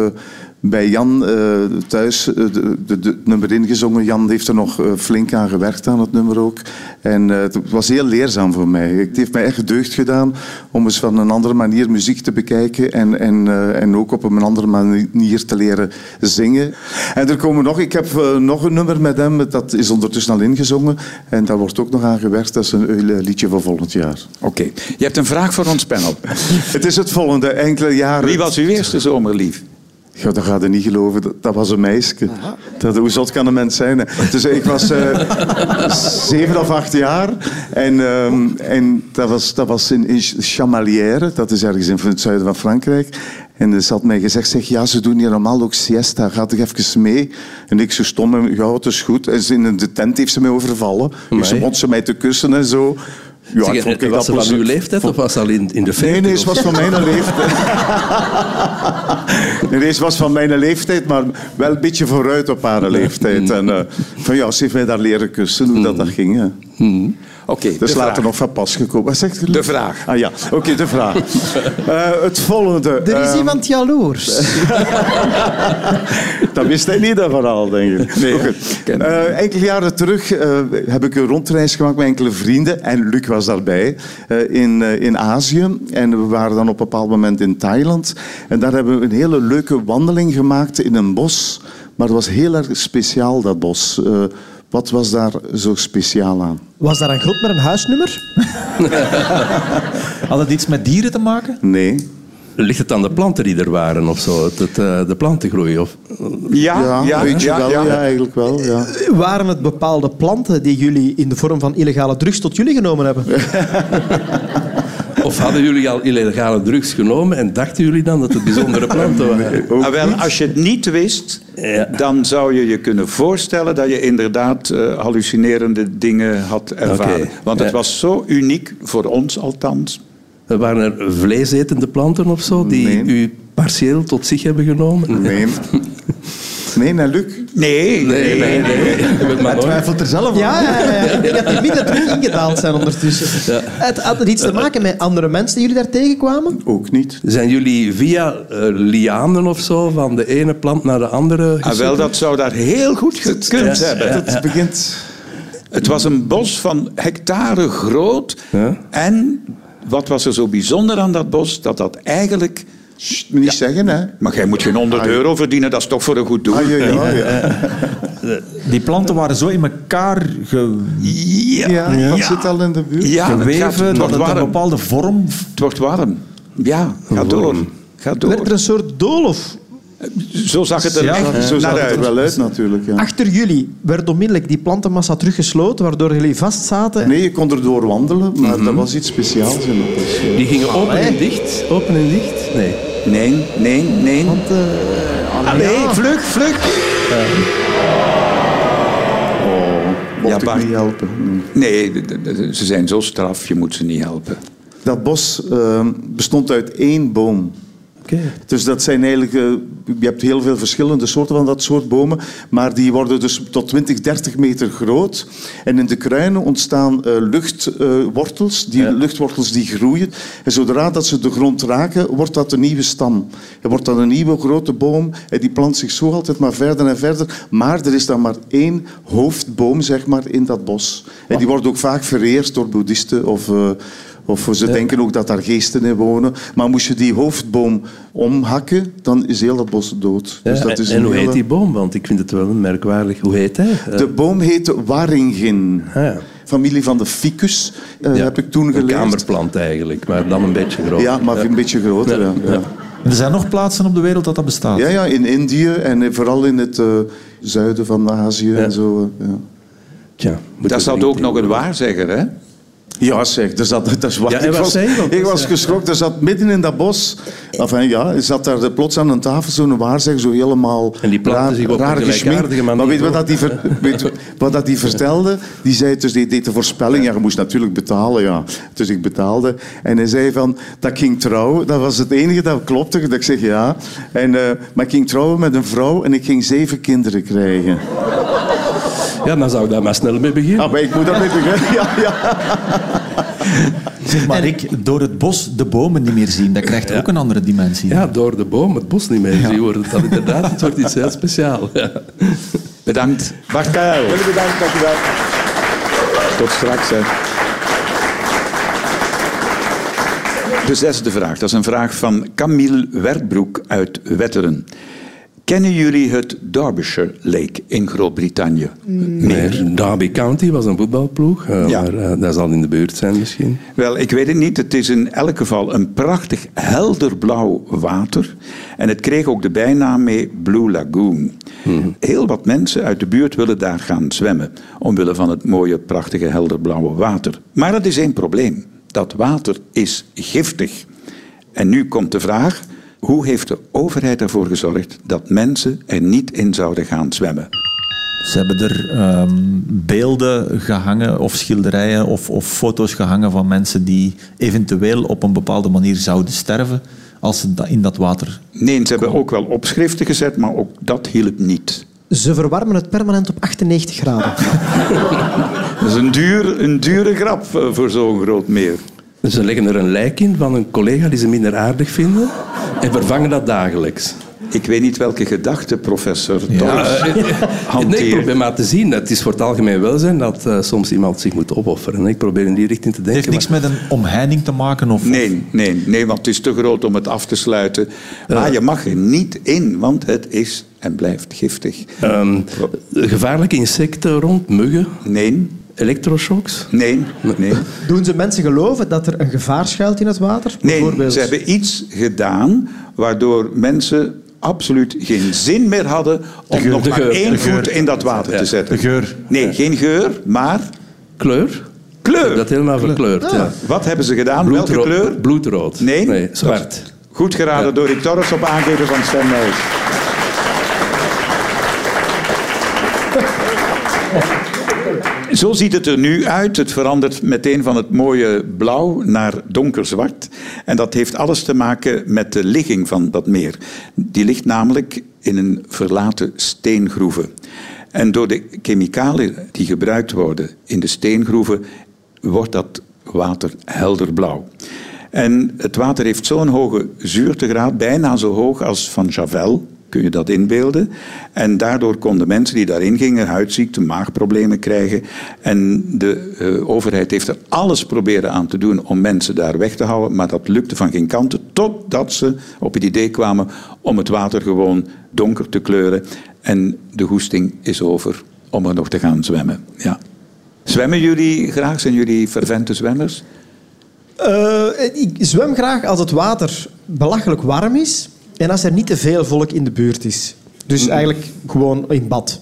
S8: bij Jan eh, thuis eh, de, de, de- het nummer ingezongen. Jan heeft er nog eh, flink aan gewerkt, aan het nummer ook. En eh, het was heel leerzaam voor mij. Het heeft mij echt deugd gedaan om eens van een andere manier muziek te bekijken en, en, eh, en ook op een andere manier te leren zingen. En er komen nog, ik heb eh, nog een nummer met hem, dat is ondertussen al ingezongen en daar wordt ook nog aan gewerkt. Dat is een eh, liedje voor volgend jaar.
S2: Oké, je hebt een vraag voor ons panel.
S8: Het is het volgende, enkele jaren...
S2: Wie was uw eerste zomerlief?
S8: Ja, dat gaat je niet geloven. Dat, dat was een meisje. Dat, hoe zot kan een mens zijn? hè? Dus ik was eh, zeven of acht jaar. En, ehm, en dat was, dat was in, in Chamalières. Dat is ergens in het zuiden van Frankrijk. En ze had mij gezegd, zeg, ja, ze doen hier normaal ook siesta. Ga toch even mee? En ik zo stom, en, ja, het is goed. En ze in de tent heeft ze mij overvallen. Dus ze
S5: Amai.
S8: begon ze mij te kussen en zo. Ja,
S5: Zeg,
S8: ik vond
S5: eh,
S8: ik
S5: was ze
S8: dat
S5: van uw
S8: plezant.
S5: leeftijd of was ze al in, in de 50?
S8: Nee, nee,
S5: of
S8: ze was van mijn leeftijd. Nee, nee, ze was van mijn leeftijd, maar wel een beetje vooruit op haar leeftijd. En eh, van ja, ze heeft mij daar leren kussen, hoe dat, dat ging. Hè.
S2: Oké, de
S8: Dus later
S2: vraag.
S8: nog van pas gekomen. Wat zegt u?
S2: De vraag.
S8: Ah ja, oké, de vraag. Eh, het volgende.
S3: Er is
S8: ehm,
S3: iemand jaloers.
S8: Dat wist hij niet, dat verhaal, denk ik. Nee, Eh, enkele jaren terug eh, heb ik een rondreis gemaakt met enkele vrienden. En Luc was daarbij eh, in, eh, in Azië. En we waren dan op een bepaald moment in Thailand. En daar hebben we een hele leuke wandeling gemaakt in een bos. Maar het was heel erg speciaal, dat bos. Eh, wat was daar zo speciaal aan?
S3: Was daar een groep met een huisnummer?
S4: had het iets met dieren te maken?
S8: Nee.
S5: Ligt het aan de planten die er waren of zo? Het, het, eh, de plantengroei? Of,
S2: Ja,
S8: Ja,
S2: ja,
S8: weet je
S2: ja,
S8: wel. Ja.
S2: ja.
S8: eigenlijk wel. Ja.
S3: Waren het bepaalde planten die jullie in de vorm van illegale drugs tot jullie genomen hebben?
S5: of hadden jullie al illegale drugs genomen en dachten jullie dan dat het bijzondere planten waren?
S8: Ook
S2: Ah, wel, als je het niet wist,
S5: Ja.
S2: dan zou je je kunnen voorstellen dat je inderdaad eh, hallucinerende dingen had ervaren.
S5: Oké,
S2: Want het
S5: ja.
S2: was zo uniek, voor ons althans.
S5: Er Waren er vleesetende planten of zo die
S8: Nee.
S5: u partieel tot zich hebben genomen?
S8: Nee. Nee, naar Luc.
S2: Nee,
S5: Nee, nee, nee. Je bent maar nooit.
S4: Twijfelt er zelf
S3: Ja, ja, ja, ja. ik denk dat die minder terug ingedaald zijn ondertussen. Het had er iets te maken met andere mensen die jullie daar tegenkwamen?
S8: Ook niet.
S5: Zijn jullie via eh, lianen of zo van de ene plant naar de andere?
S2: Ah, wel, dat zou daar heel goed gekund
S5: Ja,
S2: hebben.
S8: Het begint
S2: Het was een bos van hectare groot. En wat was er zo bijzonder aan dat bos? Dat dat eigenlijk...
S8: Sst, niet zeggen, hè?
S2: Maar jij moet geen 100 euro verdienen, dat is toch voor een goed doel.
S8: Ah, ja, ja, ja.
S4: Die planten waren zo in elkaar ge-
S2: Ja,
S8: Ja,
S2: ja.
S8: dat zit al in de buurt.
S2: Ja, het, gaat,
S4: geweven
S2: het
S4: dat
S2: wordt
S4: het een
S2: warm.
S4: bepaalde vorm...
S2: Het wordt warm. Ja, ga door. Ga
S3: Werd er
S2: door.
S3: een soort doolhof
S2: Zo zag het er
S4: Ja,
S2: echt
S8: Zo zag
S2: naar
S8: het er
S2: uit.
S8: wel uit natuurlijk. Ja.
S3: Achter jullie werd onmiddellijk die plantenmassa teruggesloten, waardoor jullie vast zaten.
S8: Nee, je kon erdoor wandelen, maar
S2: Mhm.
S8: dat was iets speciaals in het bos.
S5: Die gingen open en dicht? Open en dicht? Nee.
S2: Nee, nee, nee. Allee, vlug, vlug.
S8: Mocht ik
S2: Bart.
S8: niet helpen. Nee.
S6: Nee, d- d- d- ze zijn zo straf, je moet ze niet helpen.
S8: Dat bos eh, bestond uit één boom. Dus dat zijn eigenlijk, eh, je hebt heel veel verschillende soorten van dat soort bomen, maar die worden dus tot 20, 30 meter groot. En in de kruinen ontstaan eh, luchtwortels, die luchtwortels die groeien. En zodra dat ze de grond raken, wordt dat een nieuwe stam. Er wordt dan een nieuwe grote boom en die plant zich zo altijd maar verder en verder. Maar er is dan maar één hoofdboom, zeg maar, in dat bos. En die wordt ook vaak vereerd door boeddhisten of... eh, of ze denken ook dat daar geesten in wonen. Maar moest je die hoofdboom omhakken, dan is heel dat bos dood.
S10: Ja,
S8: Dus dat
S10: en-
S8: is
S10: en
S8: een
S10: hoe
S8: hele-
S10: heet die boom? Want ik vind het wel een merkwaardig. Hoe heet hij? Eh,
S8: De boom heet Waringin.
S10: Ah, ja.
S8: Familie van de ficus, eh,
S10: ja,
S8: heb ik toen
S10: Een
S8: geleerd.
S10: kamerplant eigenlijk, maar dan een beetje groot.
S8: Ja, maar een beetje groter. Ja, ja.
S4: En er zijn nog plaatsen op de wereld dat dat bestaat.
S8: Ja, ja, in Indië en eh, vooral in het eh, zuiden van Azië en zo. eh, Ja,
S10: Tja, moet
S6: Dat
S10: je
S6: zou
S10: er
S6: ook
S10: niet eh,
S6: nog
S10: in.
S6: een waarzegger, hè?
S8: ja zeg, dus dat, dat is waar.
S10: Ja, en
S8: ik
S10: wat
S8: was,
S10: zei je? Want
S8: ik
S10: dat
S8: was
S10: is, eh,
S8: geschrokken. Er zat midden in dat bos. Enfin, ja, er zat daar plots aan een tafel zo'n waarzeg, zo helemaal
S10: En die planten zich op een
S8: gesminkt.
S10: gelijkaardige manier
S8: Maar weet je wat
S10: voor.
S8: dat die, ver- weet je wat dat die vertelde? Die zei dus, die deed de voorspelling. Ja, je moest natuurlijk betalen, ja. Dus ik betaalde. En hij zei van, dat ik ging trouwen. Dat was het enige dat klopte. Dat ik zeg ja. En, eh, maar ik ging trouwen met een vrouw en ik ging zeven kinderen krijgen.
S10: Ja, dan zou ik daar maar snel mee beginnen.
S8: Ah, maar ik moet dat niet beginnen. Ja, ja.
S4: Zeg maar, Rick, door het bos de bomen niet meer zien, dat krijgt ook een andere dimensie.
S10: Ja, door de boom het bos niet meer zien worden. Dat inderdaad, het wordt iets heel speciaals. Ja.
S6: Bedankt.
S8: Bart Kuil. Jullie bedankt, dankjewel.
S6: Tot straks. Hè.
S2: De zesde vraag, Dus dat is een vraag van Camille Werbroek uit Wetteren. Kennen jullie het Derbyshire Lake in Groot-Brittannië?
S10: Nee, Derby County was een voetbalploeg, eh,
S2: Ja.
S10: maar eh, dat zal in de buurt zijn misschien.
S2: Wel, ik weet het niet. Het is in elk geval een prachtig helder blauw water. En het kreeg ook de bijnaam mee Blue Lagoon. Heel wat mensen uit de buurt willen daar gaan zwemmen. Omwille van het mooie, prachtige, helderblauwe water. Maar dat is één probleem. Dat water is giftig. En nu komt de vraag... Hoe heeft de overheid ervoor gezorgd dat mensen er niet in zouden gaan zwemmen?
S4: Ze hebben er ehm, beelden gehangen of schilderijen of, of foto's gehangen van mensen die eventueel op een bepaalde manier zouden sterven als ze da- in dat water...
S2: Nee, ze hebben ook wel opschriften gezet, maar ook dat hielp niet.
S3: Ze verwarmen het permanent op 98 graden.
S2: Dat is een, duur, een dure grap eh, voor zo'n groot meer.
S10: Ze leggen er een lijk in van een collega die ze minder aardig vinden en vervangen dat dagelijks.
S2: Ik weet niet welke gedachte professor Dorps
S10: Ja, eh,
S2: hanteert.
S10: nee, ik probeer maar te zien. Het is voor het algemeen welzijn dat eh, soms iemand zich moet opofferen. Ik probeer in die richting te
S4: Het
S10: denken.
S4: heeft niks
S10: maar-
S4: met een omheining te maken of...
S2: nee, nee, nee, want het is te groot om het af te sluiten. Maar je mag er niet in, want het is en blijft giftig.
S10: Ehm, gevaarlijke insecten rond, muggen,
S2: Nee,
S10: elektroshocks.
S2: nee, nee.
S3: Doen ze mensen geloven dat er een gevaar schuilt in het water?
S2: Nee,
S3: Bijvoorbeeld.
S2: ze hebben iets gedaan waardoor mensen absoluut geen zin meer hadden om
S10: geur,
S2: nog
S10: de
S2: maar
S10: geur,
S2: één
S10: de geur.
S2: voet in dat water
S10: Ja,
S2: te zetten.
S4: de geur.
S2: Nee, geen geur, maar
S10: Kleur?
S2: kleur.
S10: Dat helemaal verkleurd, ja.
S2: Wat hebben ze gedaan? Welke
S10: Bloedro-
S2: kleur?
S10: Bloedrood.
S2: Nee, dat-
S10: zwart.
S2: Goed geraden door Rick Torres op aangeven van Sven Nijs. Zo ziet het er nu uit. Het verandert meteen van het mooie blauw naar donkerzwart. En dat heeft alles te maken met de ligging van dat meer. Die ligt namelijk in een verlaten steengroeve. En door de chemicaliën die gebruikt worden in de steengroeven, wordt dat water helderblauw. En het water heeft zo'n hoge zuurtegraad, bijna zo hoog als van Javel. Kun je dat inbeelden? En daardoor konden mensen die daarin gingen huidziekten, maagproblemen krijgen. En de eh, overheid heeft er alles proberen aan te doen om mensen daar weg te houden. Maar dat lukte van geen kanten. Totdat ze op het idee kwamen om het water gewoon donker te kleuren. En de hoesting is over om er nog te gaan zwemmen. Ja. Zwemmen jullie graag? Zijn jullie fervente zwemmers?
S3: Eh, ik zwem graag als het water belachelijk warm is en als er niet te veel volk in de buurt is. Dus eigenlijk gewoon in bad.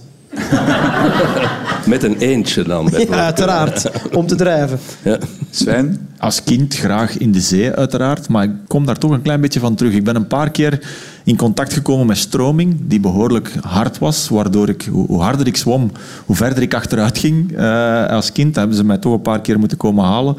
S5: Met een eentje dan.
S3: Ja,
S5: bijvoorbeeld.
S3: uiteraard. Om te drijven.
S5: Ja.
S2: Sven?
S4: Als kind graag in de zee, uiteraard. Maar ik kom daar toch een klein beetje van terug. Ik ben een paar keer in contact gekomen met stroming, die behoorlijk hard was. Waardoor ik, hoe hoe harder ik zwom, hoe verder ik achteruit ging eh, als kind. Hebben ze mij toch een paar keer moeten komen halen.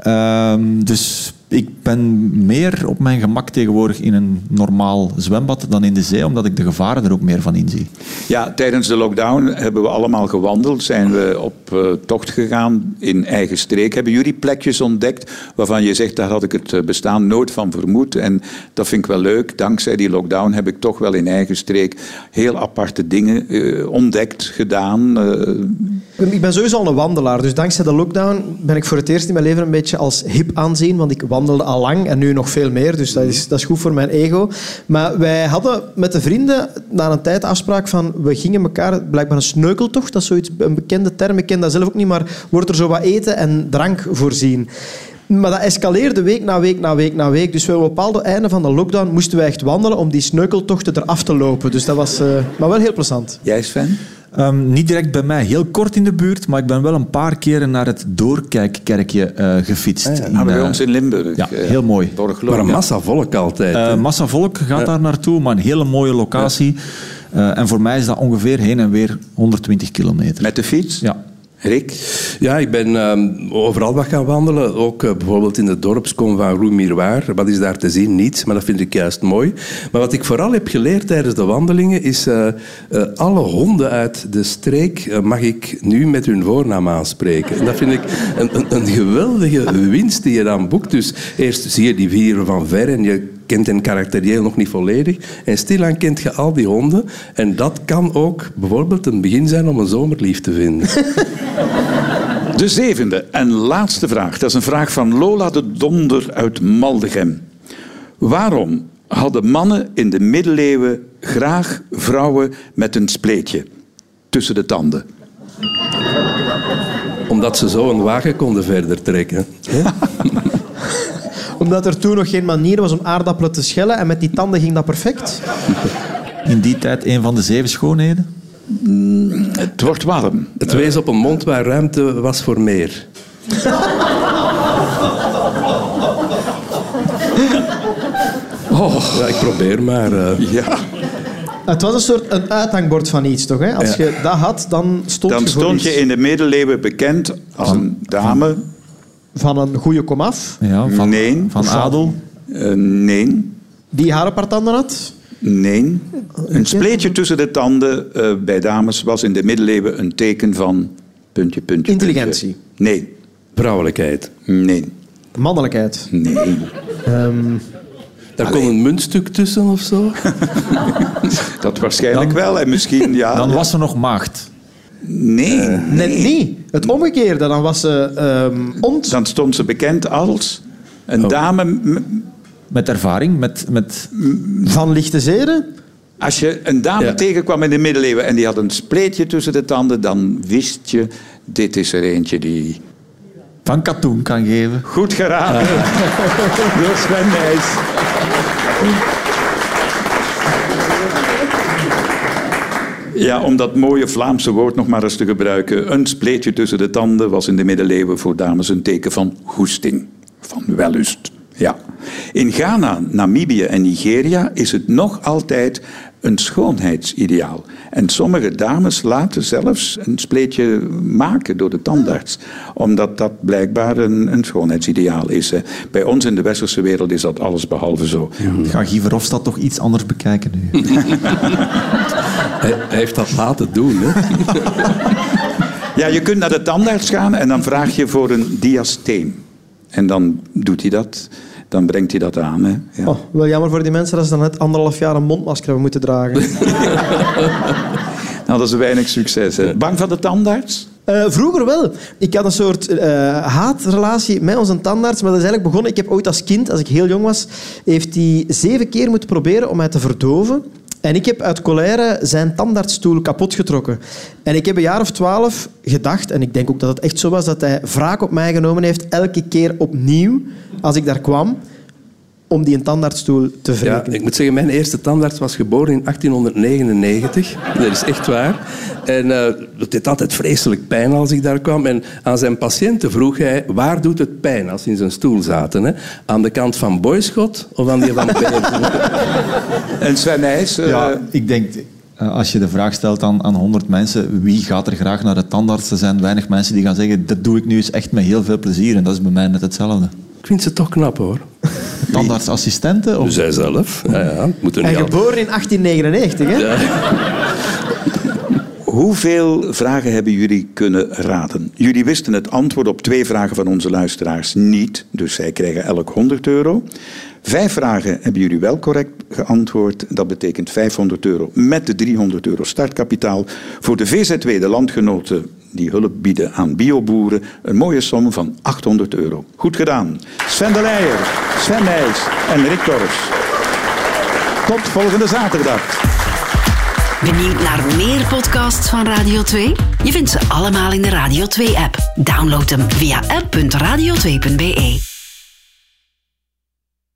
S4: Ehm, dus ik ben meer op mijn gemak tegenwoordig in een normaal zwembad dan in de zee, omdat ik de gevaren er ook meer van inzie.
S2: Ja, tijdens de lockdown hebben we allemaal gewandeld, zijn we op eh, tocht gegaan in eigen streek. Hebben jullie plekjes ontdekt waarvan je zegt, daar had ik het eh, bestaan nooit van vermoed. En dat vind ik wel leuk. Dankzij die lockdown heb ik toch wel in eigen streek heel aparte dingen eh, ontdekt, gedaan. eh.
S3: Ik ben sowieso al een wandelaar, dus dankzij de lockdown ben ik voor het eerst in mijn leven een beetje als hip aanzien, want ik wandelde al lang en nu nog veel meer, dus dat is, dat is goed voor mijn ego. Maar wij hadden met de vrienden na een tijd afspraak van, we gingen elkaar, blijkbaar een sneukeltocht, dat is zoiets, een bekende term, ik ken dat zelf ook niet, maar wordt er zo wat eten en drank voorzien. Maar dat escaleerde week na week na week na week. Dus we op een bepaalde einde van de lockdown moesten wij echt wandelen om die sneukeltochten eraf te lopen. Dus dat was eh, maar wel heel plezant.
S2: Jij Sven?
S4: Ehm, niet direct bij mij, heel kort in de buurt, maar ik ben wel een paar keren naar het Doorkijkkerkje eh, gefietst. In,
S2: Nou, bij
S4: eh,
S2: ons in Limburg.
S4: ja,
S2: eh,
S4: heel mooi.
S2: Borglo.
S5: Maar een
S2: Ja.
S5: massa volk altijd. hè.
S4: Eh, massa volk gaat daar naartoe, maar een hele mooie locatie. Eh, en voor mij is dat ongeveer heen en weer 120 kilometer.
S2: Met de fiets?
S4: Ja.
S2: Rick?
S5: Ja, ik ben ehm, overal wat gaan wandelen. Ook eh, bijvoorbeeld in de dorpskom van Roemirwaar. Wat is daar te zien? Niets, maar dat vind ik juist mooi. Maar wat ik vooral heb geleerd tijdens de wandelingen is... eh, eh, alle honden uit de streek eh, mag ik nu met hun voornaam aanspreken. En dat vind ik een, een, een geweldige winst die je dan boekt. Dus eerst zie je die vieren van ver en je kent hen karakterieel nog niet volledig. En stilaan kent je al die honden. En dat kan ook bijvoorbeeld een begin zijn om een zomerlief te vinden.
S2: De zevende en laatste vraag. Dat is een vraag van Lola de Donder uit Maldegem. Waarom hadden mannen in de middeleeuwen graag vrouwen met een spleetje tussen de tanden?
S5: Omdat ze zo een wagen konden verder trekken.
S3: Omdat er toen nog geen manier was om aardappelen te schillen en met die tanden ging dat perfect.
S4: In die tijd een van de zeven schoonheden.
S2: Het wordt warm.
S5: Het wees op een mond waar ruimte was voor meer. Oh, ja, ik probeer maar. eh.
S2: Ja,
S3: Het was een soort een uithangbord van iets, toch? Hè? Als
S5: Ja.
S3: je dat had, dan stond
S2: dan
S3: je voor
S2: stond
S3: iets.
S2: je in de middeleeuwen bekend als een dame.
S3: van een goede komaf
S4: Ja, van,
S2: Nee.
S4: van adel.
S2: Eh, nee,
S3: die haar op haar tanden had.
S2: nee. Een spleetje tussen de tanden eh, bij dames was in de middeleeuwen een teken van... Puntje, puntje,
S3: Intelligentie.
S2: puntje. Nee,
S5: Vrouwelijkheid.
S2: nee,
S3: Mannelijkheid.
S2: nee.
S3: Ehm,
S5: Daar kon een muntstuk tussen of zo.
S2: Dat waarschijnlijk wel. En misschien, ja.
S4: Dan was ze nog maagd.
S2: nee,
S3: net niet. Het omgekeerde. Dan was ze ehm ont...
S2: Dan stond ze bekend als een dame. m-
S4: Met ervaring, met, met
S3: van lichte zeden.
S2: Als je een dame
S5: Ja.
S2: tegenkwam in de middeleeuwen en die had een spleetje tussen de tanden, dan wist je, dit is er eentje die
S4: van katoen kan geven.
S2: goed geraden door Sven Nys. Ja, om dat mooie Vlaamse woord nog maar eens te gebruiken. Een spleetje tussen de tanden was in de middeleeuwen voor dames een teken van goesting, van wellust. Ja. In Ghana, Namibië en Nigeria is het nog altijd een schoonheidsideaal. En sommige dames laten zelfs een spleetje maken door de tandarts, omdat dat blijkbaar een, een schoonheidsideaal is. hè. Bij ons in de westerse wereld is dat alles behalve zo.
S4: Ik ga Guy Verhofstadt toch iets anders bekijken nu.
S5: Hij, hij heeft dat laten doen. Hè?
S2: Ja, je kunt naar de tandarts gaan en dan vraag je voor een diasteem. En dan doet hij dat. Dan brengt hij dat aan. Hè. Ja.
S3: Oh, wel jammer voor die mensen dat ze dan net anderhalf jaar een mondmasker hebben moeten dragen.
S2: Nou, dat is weinig succes. Hè. Bang van de tandarts?
S3: Eh, vroeger wel. Ik had een soort eh, haatrelatie met onze tandarts. Maar dat is eigenlijk begonnen... Ik heb ooit als kind, als ik heel jong was... heeft hij zeven keer moeten proberen om mij te verdoven. En ik heb uit colère zijn tandartsstoel kapot getrokken. En ik heb een jaar of twaalf gedacht, en ik denk ook dat het echt zo was, dat hij wraak op mij genomen heeft, elke keer opnieuw, als ik daar kwam om die een tandartsstoel te
S5: Ja,
S3: wreken.
S5: ik moet zeggen, mijn eerste tandarts was geboren in 1899. Dat is echt waar. En eh, dat deed altijd vreselijk pijn als ik daar kwam. En aan zijn patiënten vroeg hij, waar doet het pijn als ze in zijn stoel zaten? Hè? Aan de kant van Boyschot of aan die van Beersen?
S2: En Sven Nijs, eh,
S4: Ja, ik denk, eh, als je de vraag stelt aan, aan 100 mensen, wie gaat er graag naar de tandarts? Er zijn weinig mensen die gaan zeggen, dat doe ik nu eens echt met heel veel plezier. En dat is bij mij net hetzelfde.
S5: ik vind ze toch knap, hoor.
S4: Tandartsassistenten? Of...
S5: Zijzelf. Ja, ja. het Moet er
S3: En
S5: niet al-
S3: geboren in 1899, hè?
S2: hoeveel vragen hebben jullie kunnen raden? Jullie wisten het antwoord op twee vragen van onze luisteraars niet, dus zij krijgen elk 100 euro. Vijf vragen hebben jullie wel correct geantwoord. Dat betekent 500 euro met de 300 euro startkapitaal. Voor de VZW, de landgenoten die hulp bieden aan bioboeren, een mooie som van 800 euro. Goed gedaan. Sven de Leijer, Sven Nijs en Rick Torres. Tot volgende zaterdag.
S11: Benieuwd naar meer podcasts van Radio 2? Je vindt ze allemaal in de Radio 2-app. Download hem via app.radio2.be.